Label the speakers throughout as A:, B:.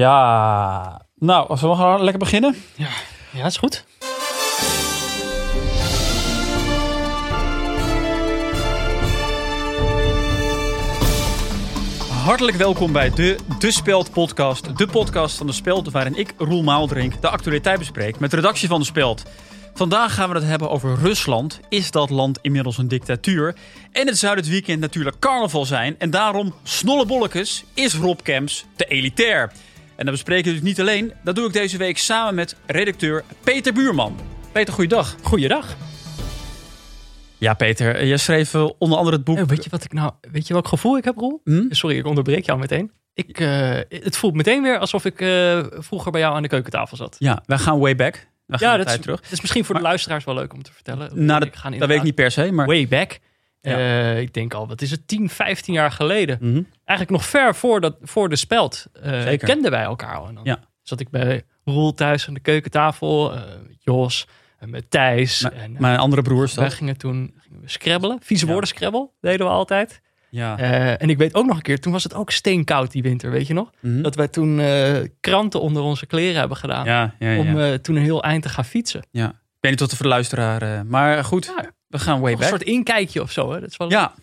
A: Ja, nou, als we gaan lekker beginnen.
B: Ja, is goed.
A: Hartelijk welkom bij de De Speld podcast. De podcast van De Speld waarin ik, Roel Maaldrink, de actualiteit bespreek met de redactie van De Speld. Vandaag gaan we het hebben over Rusland. Is dat land inmiddels een dictatuur? En het zou dit weekend natuurlijk carnaval zijn. En daarom, snollebollekes, is Rob Kemps te elitair. En dat bespreek ik natuurlijk niet alleen. Dat doe ik deze week samen met redacteur Peter Buurman. Peter, goeiedag.
B: Goeiedag.
A: Ja, Peter, je schreef eh, onder andere het boek...
B: weet je wat ik nou, weet je welk gevoel ik heb, Roel?
A: Hm?
B: Sorry, ik onderbreek jou meteen. Ik, eh, het voelt meteen weer alsof ik eh, vroeger bij jou aan de keukentafel zat.
A: Ja, wij gaan way back. We gaan
B: Ja,
A: de
B: dat is,
A: tijd terug.
B: dat is misschien voor de luisteraars wel leuk om te vertellen.
A: Nou, dat,
B: Ik ga
A: dat weet ik niet per se, maar...
B: Way back.
A: Ja.
B: Eh, ik denk al, wat is het, 10, 15 jaar geleden.
A: Mhm.
B: Eigenlijk nog ver voor, dat, voor de speld eh,
A: Zeker.
B: kenden wij elkaar al. En dan
A: Ja.
B: zat ik bij Roel thuis aan de keukentafel. eh, Jos, en met Thijs.
A: Maar-
B: en, eh,
A: Mijn andere broer is
B: Wij
A: dat.
B: gingen toen gingen we scrabbelen. Vieze
A: Ja.
B: woorden scrabbelen deden we altijd.
A: Ja.
B: Eh, en ik weet ook nog een keer, toen was het ook steenkoud die winter, weet je nog?
A: Mhm.
B: Dat wij toen eh, kranten onder onze kleren hebben gedaan.
A: ja, ja, ja.
B: Om eh, toen een heel eind te gaan fietsen.
A: ja. Ik weet niet tot voor de luisteraar, eh, maar goed,
B: Ja.
A: we gaan way
B: Een
A: back.
B: soort inkijkje of zo. Hè? Dat is wel
A: Ja.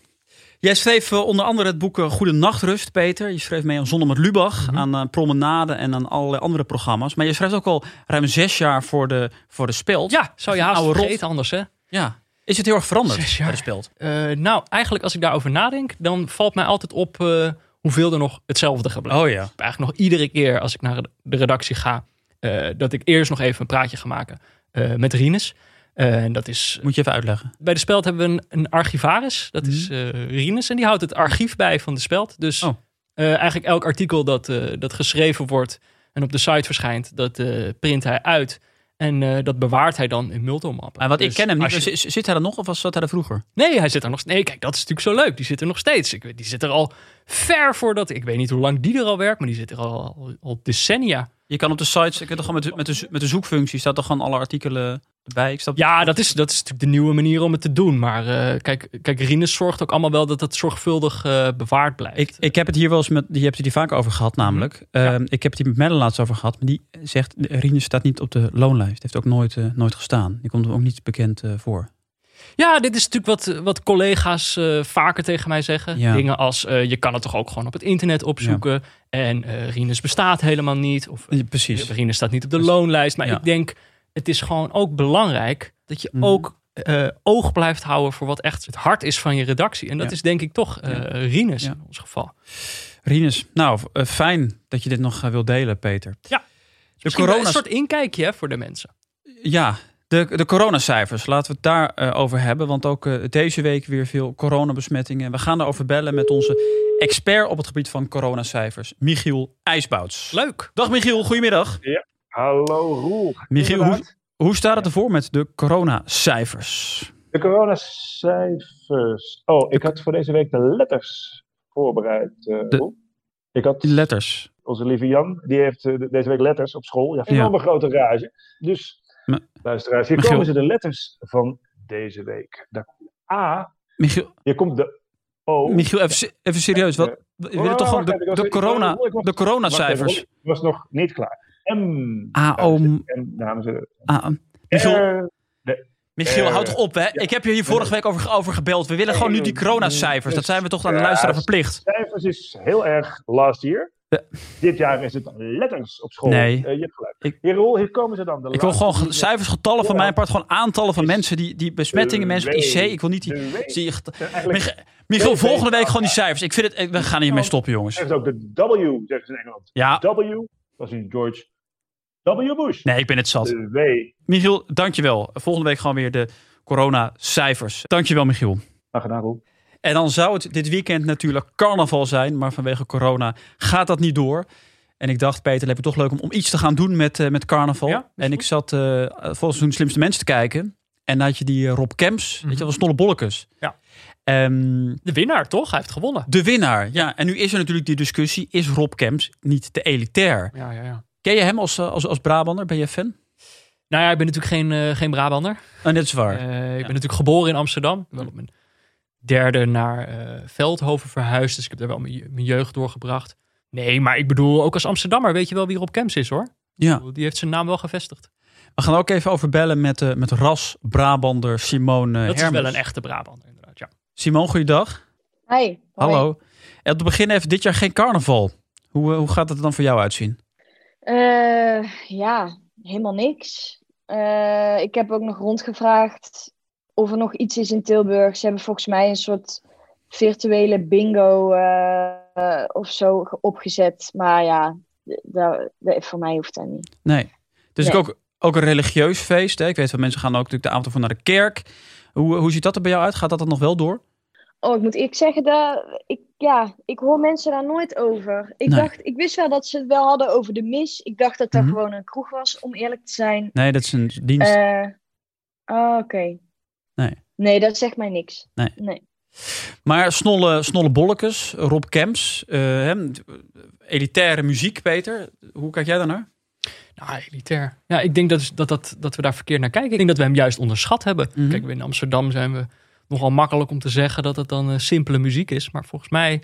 A: Jij schreef eh, onder andere het boek eh, Goede Nachtrust, Peter. Je schreef mee aan Zonne met Lubach,
B: Mhm.
A: aan eh, Promenade en aan allerlei andere programma's. Maar je schrijft ook al ruim zes jaar voor de, voor de Speld.
B: ja, zou je
A: Een
B: haast
A: oude rot.
B: vergeten anders, hè?
A: ja. Is het heel erg veranderd
B: Zes jaar.
A: bij de Speld?
B: Eh, nou, eigenlijk als ik daarover nadenk, dan valt mij altijd op eh, hoeveel er nog hetzelfde gebleven
A: Oh ja.
B: heb eigenlijk nog iedere keer als ik naar de redactie ga, eh, dat ik eerst nog even een praatje ga maken eh, met Rinus. Eh, en dat is,
A: Moet je even uitleggen.
B: bij de Speld hebben we een, een archivaris, dat
A: Mhm.
B: is eh, Rinus. En die houdt het archief bij van de Speld. Dus
A: Oh.
B: eh, eigenlijk elk artikel dat, eh, dat geschreven wordt en op de site verschijnt, dat eh, print hij uit. En eh, dat bewaart hij dan in multimappen.
A: Maar wat ik
B: Dus
A: ken hem niet.
B: als je-
A: Z- Zit hij er nog of was zat hij er vroeger?
B: Nee, hij zit er nog Nee, kijk, dat is natuurlijk zo leuk. Die zit er nog steeds. Ik, weet- die zit er al ver voordat... Ik weet niet hoe lang die er al werkt, maar die zit er al, al, al decennia.
A: Je kan op de sites, je kunt er gewoon met, de- met, de, zo- met de zoekfunctie, staat er gewoon alle artikelen bij. Ik snap
B: Ja, dat is, dat is natuurlijk de nieuwe manier om het te doen. Maar eh, kijk, kijk, Rinus zorgt ook allemaal wel dat het zorgvuldig eh, bewaard blijft.
A: Ik, ik heb het hier wel eens met, je hebt het hier vaak over gehad namelijk. Ehm, ik heb het hier met Melle laatst over gehad. Maar die zegt, Rinus staat niet op de loonlijst. Heeft ook nooit, eh, nooit gestaan. Die komt er ook niet bekend eh, voor.
B: Ja, dit is natuurlijk wat, wat collega's eh, vaker tegen mij zeggen.
A: Ja.
B: Dingen als, eh, je kan het toch ook gewoon op het internet opzoeken. En eh Rinus bestaat helemaal niet. Of eh,
A: precies.
B: Rinus staat niet op de
A: Dus-
B: loonlijst. Maar
A: Ja.
B: ik denk, het is gewoon ook belangrijk dat je
A: Mhm.
B: ook eh, oog blijft houden voor wat echt het hart is van je redactie. En dat
A: Ja.
B: is denk ik toch eh
A: Ja.
B: Rinus
A: Ja.
B: in ons geval.
A: Rinus, nou eh, fijn dat je dit nog eh, wilt delen Peter.
B: Ja.
A: De,
B: Misschien wel
A: corona,
B: Een soort inkijkje hè, voor de mensen.
A: ja, de, de coronacijfers, laten we het daarover over hebben. Want ook eh, deze week weer veel coronabesmettingen. We gaan daarover bellen met onze expert op het gebied van coronacijfers. Michiel IJsbouts.
B: Leuk.
A: Dag Michiel, goedemiddag.
C: Hallo Roel.
A: Michiel, hoe,
C: Inderdaad,
A: Hoe staat het ervoor met de coronacijfers?
C: De coronacijfers. Oh, ik had voor deze week de letters voorbereid, eh,
A: De-
C: Roel. Ik had
A: Die letters.
C: onze lieve Jan, die heeft eh, de- deze week letters op school. Ja,
A: Ja.
C: van een grote rage. Dus,
A: Maar-
C: luisteraars, hier
A: Michiel-
C: komen ze de letters van deze week. Daar komt de A,
A: Michiel,
C: hier komt de O.
A: Michiel even, se- even serieus. Wat,
C: Eh,
A: we willen toch gewoon
C: Oh. wacht
A: de,
C: even, ik was
A: de,
C: even-
A: corona,
C: ik was-
A: de
C: Wacht
A: coronacijfers.
C: even, Roel, Ik was nog niet klaar. M.
A: AO.
C: En dames en heren.
A: Ah, Michiel,
C: R.
A: Michiel
C: eh,
A: houd toch op. Hè? Ik heb je hier vorige week over, over gebeld. We willen gewoon nu die coronacijfers. Dat zijn we toch aan de
C: Ja,
A: luisteraar verplicht.
C: cijfers is heel erg last year.
A: Ja.
C: Dit jaar is het letters op school.
A: Nee.
C: Eh, je hebt gelijk.
A: Ik-
C: Hier, Roel, hier komen ze dan. De
A: Ik wil
C: laatste
A: gewoon ge-
C: die-
A: cijfers, getallen van
C: Ja.
A: mijn part. Gewoon aantallen van
C: Is
A: mensen die, die besmettingen,
C: de
A: mensen op IC.
C: week.
A: Ik wil niet die...
C: De week-
A: zie je get-
C: eh, eigenlijk Oh.
A: Mich- Michiel,
C: week-
A: volgende week gewoon die cijfers. Ik vind het... We gaan hiermee stoppen, jongens.
C: zeggen ze ook de W, zeggen ze in Engeland.
A: Ja,
C: W, was in George W. Bush.
A: Ah. nee, ik ben het zat.
C: De W.
A: Michiel, dankjewel. Volgende week gewoon weer de coronacijfers. Dankjewel, Michiel.
C: Nou, gedaan, Roel.
A: En dan zou het dit weekend natuurlijk carnaval zijn, maar vanwege corona gaat dat niet door. En ik dacht, Peter, lijkt me toch leuk om, om iets te gaan doen met, eh, met carnaval.
B: Ja, dat is
A: en ik
B: goed.
A: zat eh, volgens toen slimste mensen te kijken. En dan had je die eh, Rob Kemps, weet je, wel, Snolle Bollekes.
B: Mhm. Ja.
A: Ehm,
B: De winnaar, toch? Hij heeft gewonnen.
A: de winnaar. Ja, en nu is er natuurlijk die discussie, is Rob Kemps niet te elitair?
B: Ja, ja, ja.
A: Ken je hem als, eh, als, als Brabander? Ben je fan?
B: Nou ja, ik ben natuurlijk geen, eh, geen Brabander.
A: En dat is waar. Mm.
B: Eh, ik ben natuurlijk geboren in Amsterdam. Ik ben op mijn derde naar eh, Veldhoven verhuisd. Dus ik heb daar wel mijn, je- mijn jeugd doorgebracht. Nee, maar ik bedoel, ook als Amsterdammer weet je wel wie er op Camps is hoor. Ik
A: Ja. Eh,
B: bedoel, Die heeft zijn naam wel gevestigd.
A: We gaan ook even over bellen met, eh, met Ras Brabander Simone
B: Dat is
A: Hermens.
B: wel een echte Brabander inderdaad, ja.
A: Simone, goeiedag.
D: Hi. hoi.
A: Hallo. En op het begin even dit jaar geen carnaval. Hoe, eh, hoe gaat het er dan voor jou uitzien?
D: Eh, ja, helemaal niks. Eh, ik heb ook nog rondgevraagd of er nog iets is in Tilburg. Ze hebben volgens mij een soort virtuele bingo eh, eh, of zo ge- opgezet. Maar ja, d- daar- daar- voor mij hoeft dat niet.
A: Nee. Dus
D: Nee.
A: ook, ook een religieus feest. Hè? Ik weet wel, mensen gaan ook natuurlijk de avond ervoor naar de kerk. Hoe, eh, hoe ziet dat er bij jou uit? Gaat dat dan nog wel door?
D: Oh, ik moet eerlijk zeggen, daar, ik, ja, ik hoor mensen daar nooit over. Ik,
A: Nee.
D: dacht, ik wist wel dat ze het wel hadden over de mis. Ik dacht dat dat
A: Mhm.
D: gewoon een kroeg was, om eerlijk te zijn.
A: Nee, dat is een dienst.
D: Eh, oh, oké.
A: Dus- Nee.
D: Nee, dat zegt mij niks.
A: Maar snolle, snolle bollekes, Rob Kemps, eh, hè, elitaire muziek, Peter. Hoe kijk jij daarnaar?
B: Nou, elitair. Ja, ik denk dat, dat, dat, dat we daar verkeerd naar kijken. Ik denk dat we hem juist onderschat hebben.
A: Mhm.
B: Kijk, in Amsterdam zijn we nogal makkelijk om te zeggen dat het dan eh, simpele muziek is. Maar volgens mij,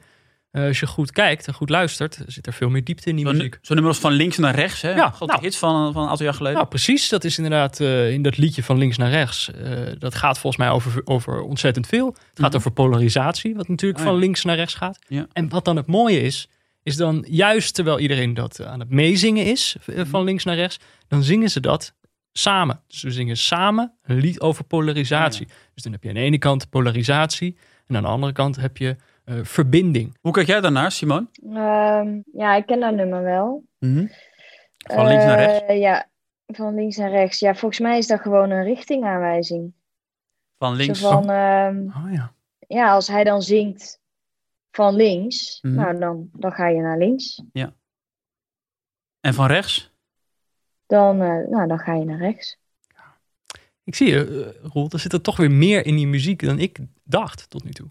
B: eh, als je goed kijkt en goed luistert, zit er veel meer diepte in die
A: Zo'n
B: muziek.
A: zo'n nummer als van links naar rechts. Hè?
B: Ja,
A: Grote
B: nou.
A: hit van, van een aantal jaar geleden.
B: Nou, precies. Dat is inderdaad eh, in dat liedje van links naar rechts. eh, dat gaat volgens mij over, over ontzettend veel. Het gaat
A: Mhm.
B: over polarisatie, wat natuurlijk
A: Oh ja.
B: van links naar rechts gaat.
A: Ja.
B: En wat dan het mooie is, is dan juist terwijl iedereen dat eh, aan het meezingen is, eh,
A: Mhm.
B: van links naar rechts, dan zingen ze dat samen. Dus we zingen samen een lied over
A: Oh,
B: polarisatie. Dus dan heb je aan de ene kant polarisatie en aan de andere kant heb je eh, verbinding.
A: Hoe kijk jij daarnaar, Simon?
D: Ehm, ja, ik ken dat nummer wel.
A: Van links naar rechts.
D: Eh, ja, van links naar rechts. Ja, volgens mij is dat gewoon een richtingaanwijzing.
A: Van links.
D: Zo van, ehm,
B: Oh ja.
D: ja, als hij dan zingt van links,
A: Mhm.
D: nou dan, dan ga je naar links.
A: En van rechts?
D: Dan, eh, nou, dan ga je naar rechts.
B: Ik zie je, eh, Roel, er zit er toch weer meer in die muziek dan ik dacht tot nu toe.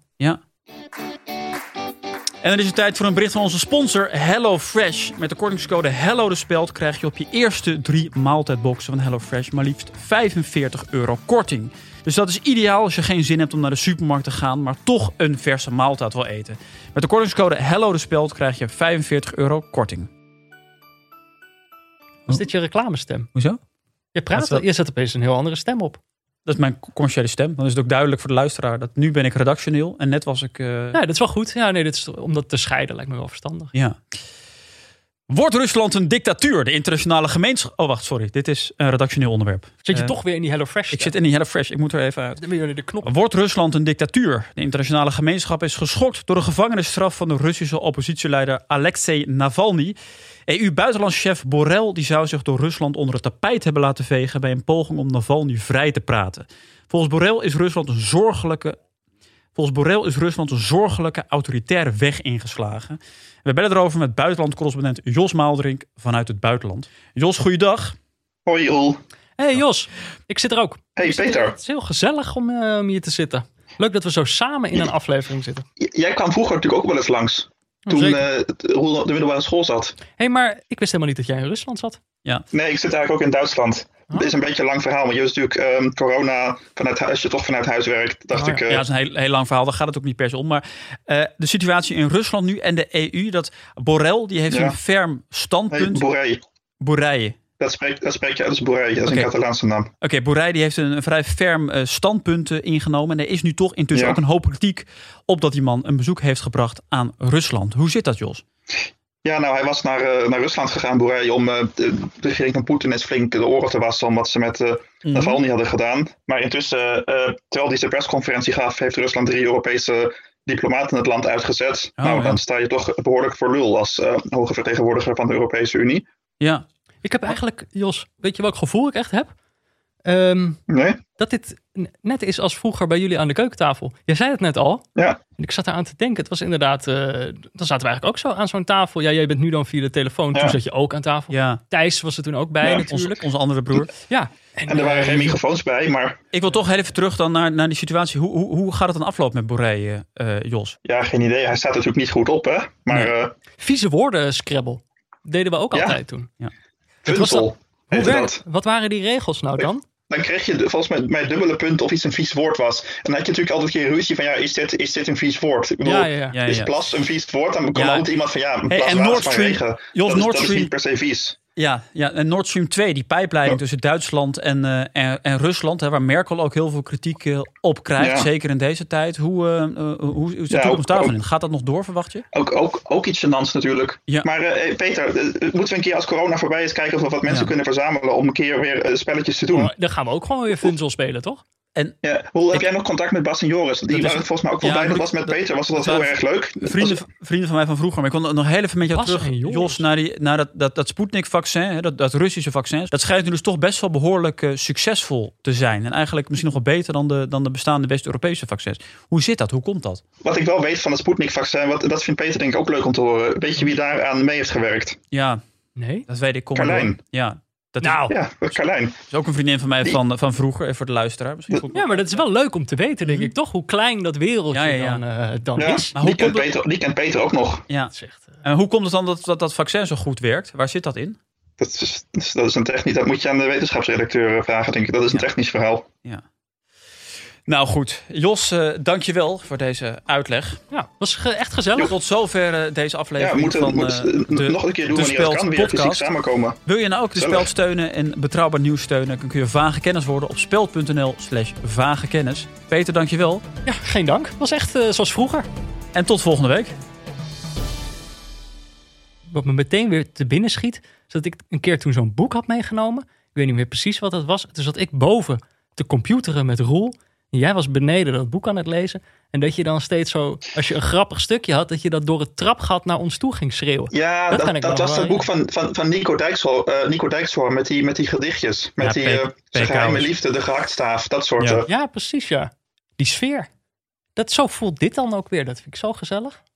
A: En dan is het tijd voor een bericht van onze sponsor HelloFresh. Met de kortingscode HELLO de Speld krijg je op je eerste drie maaltijdboxen van HelloFresh maar liefst 45 euro korting. Dus dat is ideaal als je geen zin hebt om naar de supermarkt te gaan, maar toch een verse maaltijd wil eten. Met de kortingscode HELLO de Speld krijg je 45 euro korting. Oh.
B: Is dit je reclamestem?
A: Hoezo?
B: Je
A: Dat
B: praat,
A: is wel-
B: je zet opeens een heel andere stem op.
A: Dat is mijn commerciële stem. Dan is het ook duidelijk voor de luisteraar dat nu ben ik redactioneel en net was ik... eh,
B: Ja, dat is wel goed. Ja, nee, dit is, om dat te scheiden lijkt me wel verstandig.
A: Ja. Wordt Rusland een dictatuur? De internationale gemeenschap. Oh, wacht, sorry. Dit is een redactioneel onderwerp.
B: Zit je
A: Eh,
B: toch weer in die HelloFresh?
A: Ik zit in die HelloFresh. Ik moet er even uit.
B: Dan ben je de knop.
A: Wordt Rusland een dictatuur? De internationale gemeenschap is geschokt door de gevangenisstraf van de Russische oppositieleider Alexei Navalny. EU-buitenlandschef Borrell die zou zich door Rusland onder het tapijt hebben laten vegen bij een poging om Navalny vrij te praten. Volgens Borrell is Rusland een zorgelijke. Volgens Borrell is Rusland een zorgelijke autoritaire weg ingeslagen. We bellen erover met buitenlandcorrespondent Jos Maaldrink vanuit het buitenland. Jos, goeiedag.
E: Hoi Roel.
B: hey, Jos, ik zit er ook.
E: Hey Peter,
B: Het is heel gezellig om, eh, om hier te zitten. Leuk dat we zo samen in een aflevering zitten.
E: j- jij kwam vroeger natuurlijk ook wel eens langs. Toen
B: Oh, Zeker.
E: eh, t- Roel op de middelbare school zat.
B: hey, maar ik wist helemaal niet dat jij in Rusland zat.
E: Nee, ik zit eigenlijk ook in Duitsland.
B: Oh.
E: Het is een beetje een lang verhaal, maar je was natuurlijk ehm, corona, vanuit, hu- als je toch vanuit huis werkt, dacht
B: Oh,
E: ik.
B: ja.
E: eh,
A: Ah, Ja, dat is een heel, heel lang verhaal. Daar gaat het ook niet per se om. Maar eh, de situatie in Rusland nu en de EU. Dat Borrell, die heeft
E: Ja.
A: een ferm
E: hey,
A: standpunt.
E: Borrell.
A: Borrell.
E: Dat spreek, dat spreek je uit als Borrell. Dat is
A: Oké.
E: een Catalaanse naam.
A: Oké, Borrell die heeft een, een vrij ferm eh, standpunt eh, ingenomen. En er is nu toch intussen
E: Ja.
A: ook een hoop kritiek op dat die man een bezoek heeft gebracht aan Rusland. Hoe zit dat, Jos?
E: Ja, nou, hij was naar, eh, naar Rusland gegaan, Borrell, om eh, de, de regering van Poetin eens flink de oren te wassen om wat ze met eh
A: Mhm.
E: Navalny hadden gedaan. Maar intussen, eh, eh, terwijl hij zijn persconferentie gaf, heeft Rusland drie Europese diplomaten het land uitgezet.
A: Oh,
E: nou,
A: ja.
E: dan sta je toch behoorlijk voor lul als eh, hoge vertegenwoordiger van de Europese Unie.
A: Ja,
B: Ik
E: Oh.
B: heb eigenlijk, Jos, weet je welk gevoel ik echt heb? Ehm,
E: Nee?
B: dat dit n- net is als vroeger bij jullie aan de keukentafel. Jij zei het net al.
E: Ja.
B: En ik zat eraan te denken. Het was inderdaad, eh, dan zaten we eigenlijk ook zo aan zo'n tafel. Ja, jij bent nu dan via de telefoon. Toen
E: Ja.
B: zat je ook aan tafel.
A: ja.
B: Thijs was er toen ook bij
E: Ja,
A: Onze,
B: natuurlijk.
A: onze andere broer.
B: Ja.
E: En er waren
B: eh,
E: geen microfoons bij, maar
A: Ik wil toch heel even terug dan naar, naar die situatie. Hoe, hoe, hoe gaat het dan aflopen met Borrell, eh, eh, Jos?
E: ja, geen idee. Hij staat er natuurlijk niet goed op, hè? Maar
A: Nee.
E: eh
B: Vieze woorden, Scrabble. Deden we ook
E: Ja.
B: altijd toen.
E: Tuntel
B: Hoe
E: heette
B: werkt-
E: dat.
B: Wat waren die regels nou dan?
E: dan kreeg je volgens mij, mij dubbele punten of iets een vies woord was. En dan had je natuurlijk altijd een keer ruzie van, ja, is dit, is dit een vies woord? Ik bedoel,
B: Ja, ja, ja.
A: Ja,
E: is
A: ja.
E: plas een vies woord? Dan kwam
A: Ja.
E: altijd iemand van, ja, een
A: Hey,
E: plas
A: en
E: water
A: Nord
E: van
A: Stream-
E: regen.
A: Jos,
E: dat, is,
A: Nord
E: dat is
A: Stream-
E: niet per se vies.
A: Ja, ja, en Nord Stream 2, die pijpleiding
E: Ja.
A: tussen Duitsland en, eh, en, en Rusland, hè, waar Merkel ook heel veel kritiek eh, op krijgt,
E: Ja.
A: zeker in deze tijd. Hoe, eh, eh, hoe, hoe zit de
E: Ja,
A: toekomst
E: ook- Eh,
A: daarvan
E: ook-
A: in? Gaat dat nog door, verwacht je?
E: Ook, ook, ook iets gênants natuurlijk.
A: Ja.
E: Maar eh, eh, Peter, eh, moeten we een keer als corona voorbij is kijken of we wat mensen
A: Ja.
E: kunnen verzamelen om een keer weer eh, spelletjes te doen?
B: Oh, dan gaan we ook gewoon weer Funzel spelen, toch?
E: Ja. Hoe heb
A: Ik-
E: jij nog contact met Bas en Joris? Die
A: Dat is-
E: waren volgens mij ook wel
A: Ja,
E: bij. Dat
A: ik-
E: was met
A: dat-
E: Peter. Was dat
A: dat
E: heel
A: waren
E: erg leuk?
A: Vrienden, vrienden van mij van vroeger, maar ik wil nog heel even met jou
B: Bas
A: terug,
B: en Joris.
A: Jos, naar, die, naar dat, dat, dat Sputnik-vaccin, hè, dat, dat Russische vaccin. Dat schijnt nu dus toch best wel behoorlijk eh, succesvol te zijn. En eigenlijk misschien nog wel beter dan de, dan de bestaande West-Europese vaccins. Hoe zit dat? Hoe komt dat?
E: Wat ik wel weet van het Sputnik-vaccin, wat- dat vindt Peter denk ik ook leuk om te horen. Weet je wie daaraan mee heeft gewerkt?
A: Ja,
B: Nee.
A: dat weet ik. Kom
E: Carlijn.
A: maar door. Ja, dat is-
B: Nou,
E: Ja, Carlijn.
A: is ook een vriendin van mij
E: Die-
A: van, van vroeger, eh, voor de luisteraar. Misschien vond ik-
B: ja, maar dat is wel leuk om te weten, denk ik, toch? Hoe klein dat wereldje
A: Mhm. Ja, ja, ja.
B: dan, eh, dan
E: Ja,
B: is.
A: Maar
E: die,
A: hoe
E: kent
A: komt het-
E: Peter, die kent Peter ook nog.
A: ja.
B: Dat is echt, eh,
A: En hoe komt het dan dat, dat dat vaccin zo goed werkt? Waar zit dat in?
E: Dat is, dat is- dat is een technisch, dat moet je aan de wetenschapsredacteur eh, vragen, denk ik. Dat is een
A: Ja.
E: technisch verhaal.
A: Nou goed, Jos, eh dankjewel voor deze uitleg.
B: ja, was ge- echt gezellig.
A: Tot zover eh, deze
E: Ja,
A: aflevering
E: we moeten
A: van
E: moeten
A: eh,
E: het, eh,
A: de,
E: nog een keer doen
A: de
E: wanneer het kan.
A: Speld
E: Weer fysiek
A: podcast.
E: samenkomen.
A: Wil je nou ook de
E: Gezellig.
A: Speld steunen en betrouwbaar nieuws steunen... dan kun je vage kennis worden op speld.nl slash vage kennis. Peter, dankjewel.
B: Ja, geen dank. Was echt eh, zoals vroeger.
A: En tot volgende week.
B: Wat me meteen weer te binnen schiet, is dat ik een keer toen zo'n boek had meegenomen. Ik weet niet meer precies wat dat was. Toen zat ik boven te computeren met Roel. En jij was beneden dat boek aan het lezen. En dat je dan steeds zo, als je een grappig stukje had, dat je dat door het trapgat naar ons toe ging schreeuwen.
E: Ja,
B: Dat
E: dat,
B: kan ik
E: dat,
B: wel
E: was
B: wel,
E: het boek van, van, van Nico Dijkshoorn eh, Nico Dijkshoorn met die, met die gedichtjes. Met
A: Ja,
E: die
A: P-
E: eh, zijn
A: PK's.
E: geheime liefde, de gehaktstaaf, dat soort.
A: Ja.
E: eh,
B: Ja, precies ja. Die sfeer. Dat, zo voelt dit dan ook weer. Dat vind ik zo gezellig.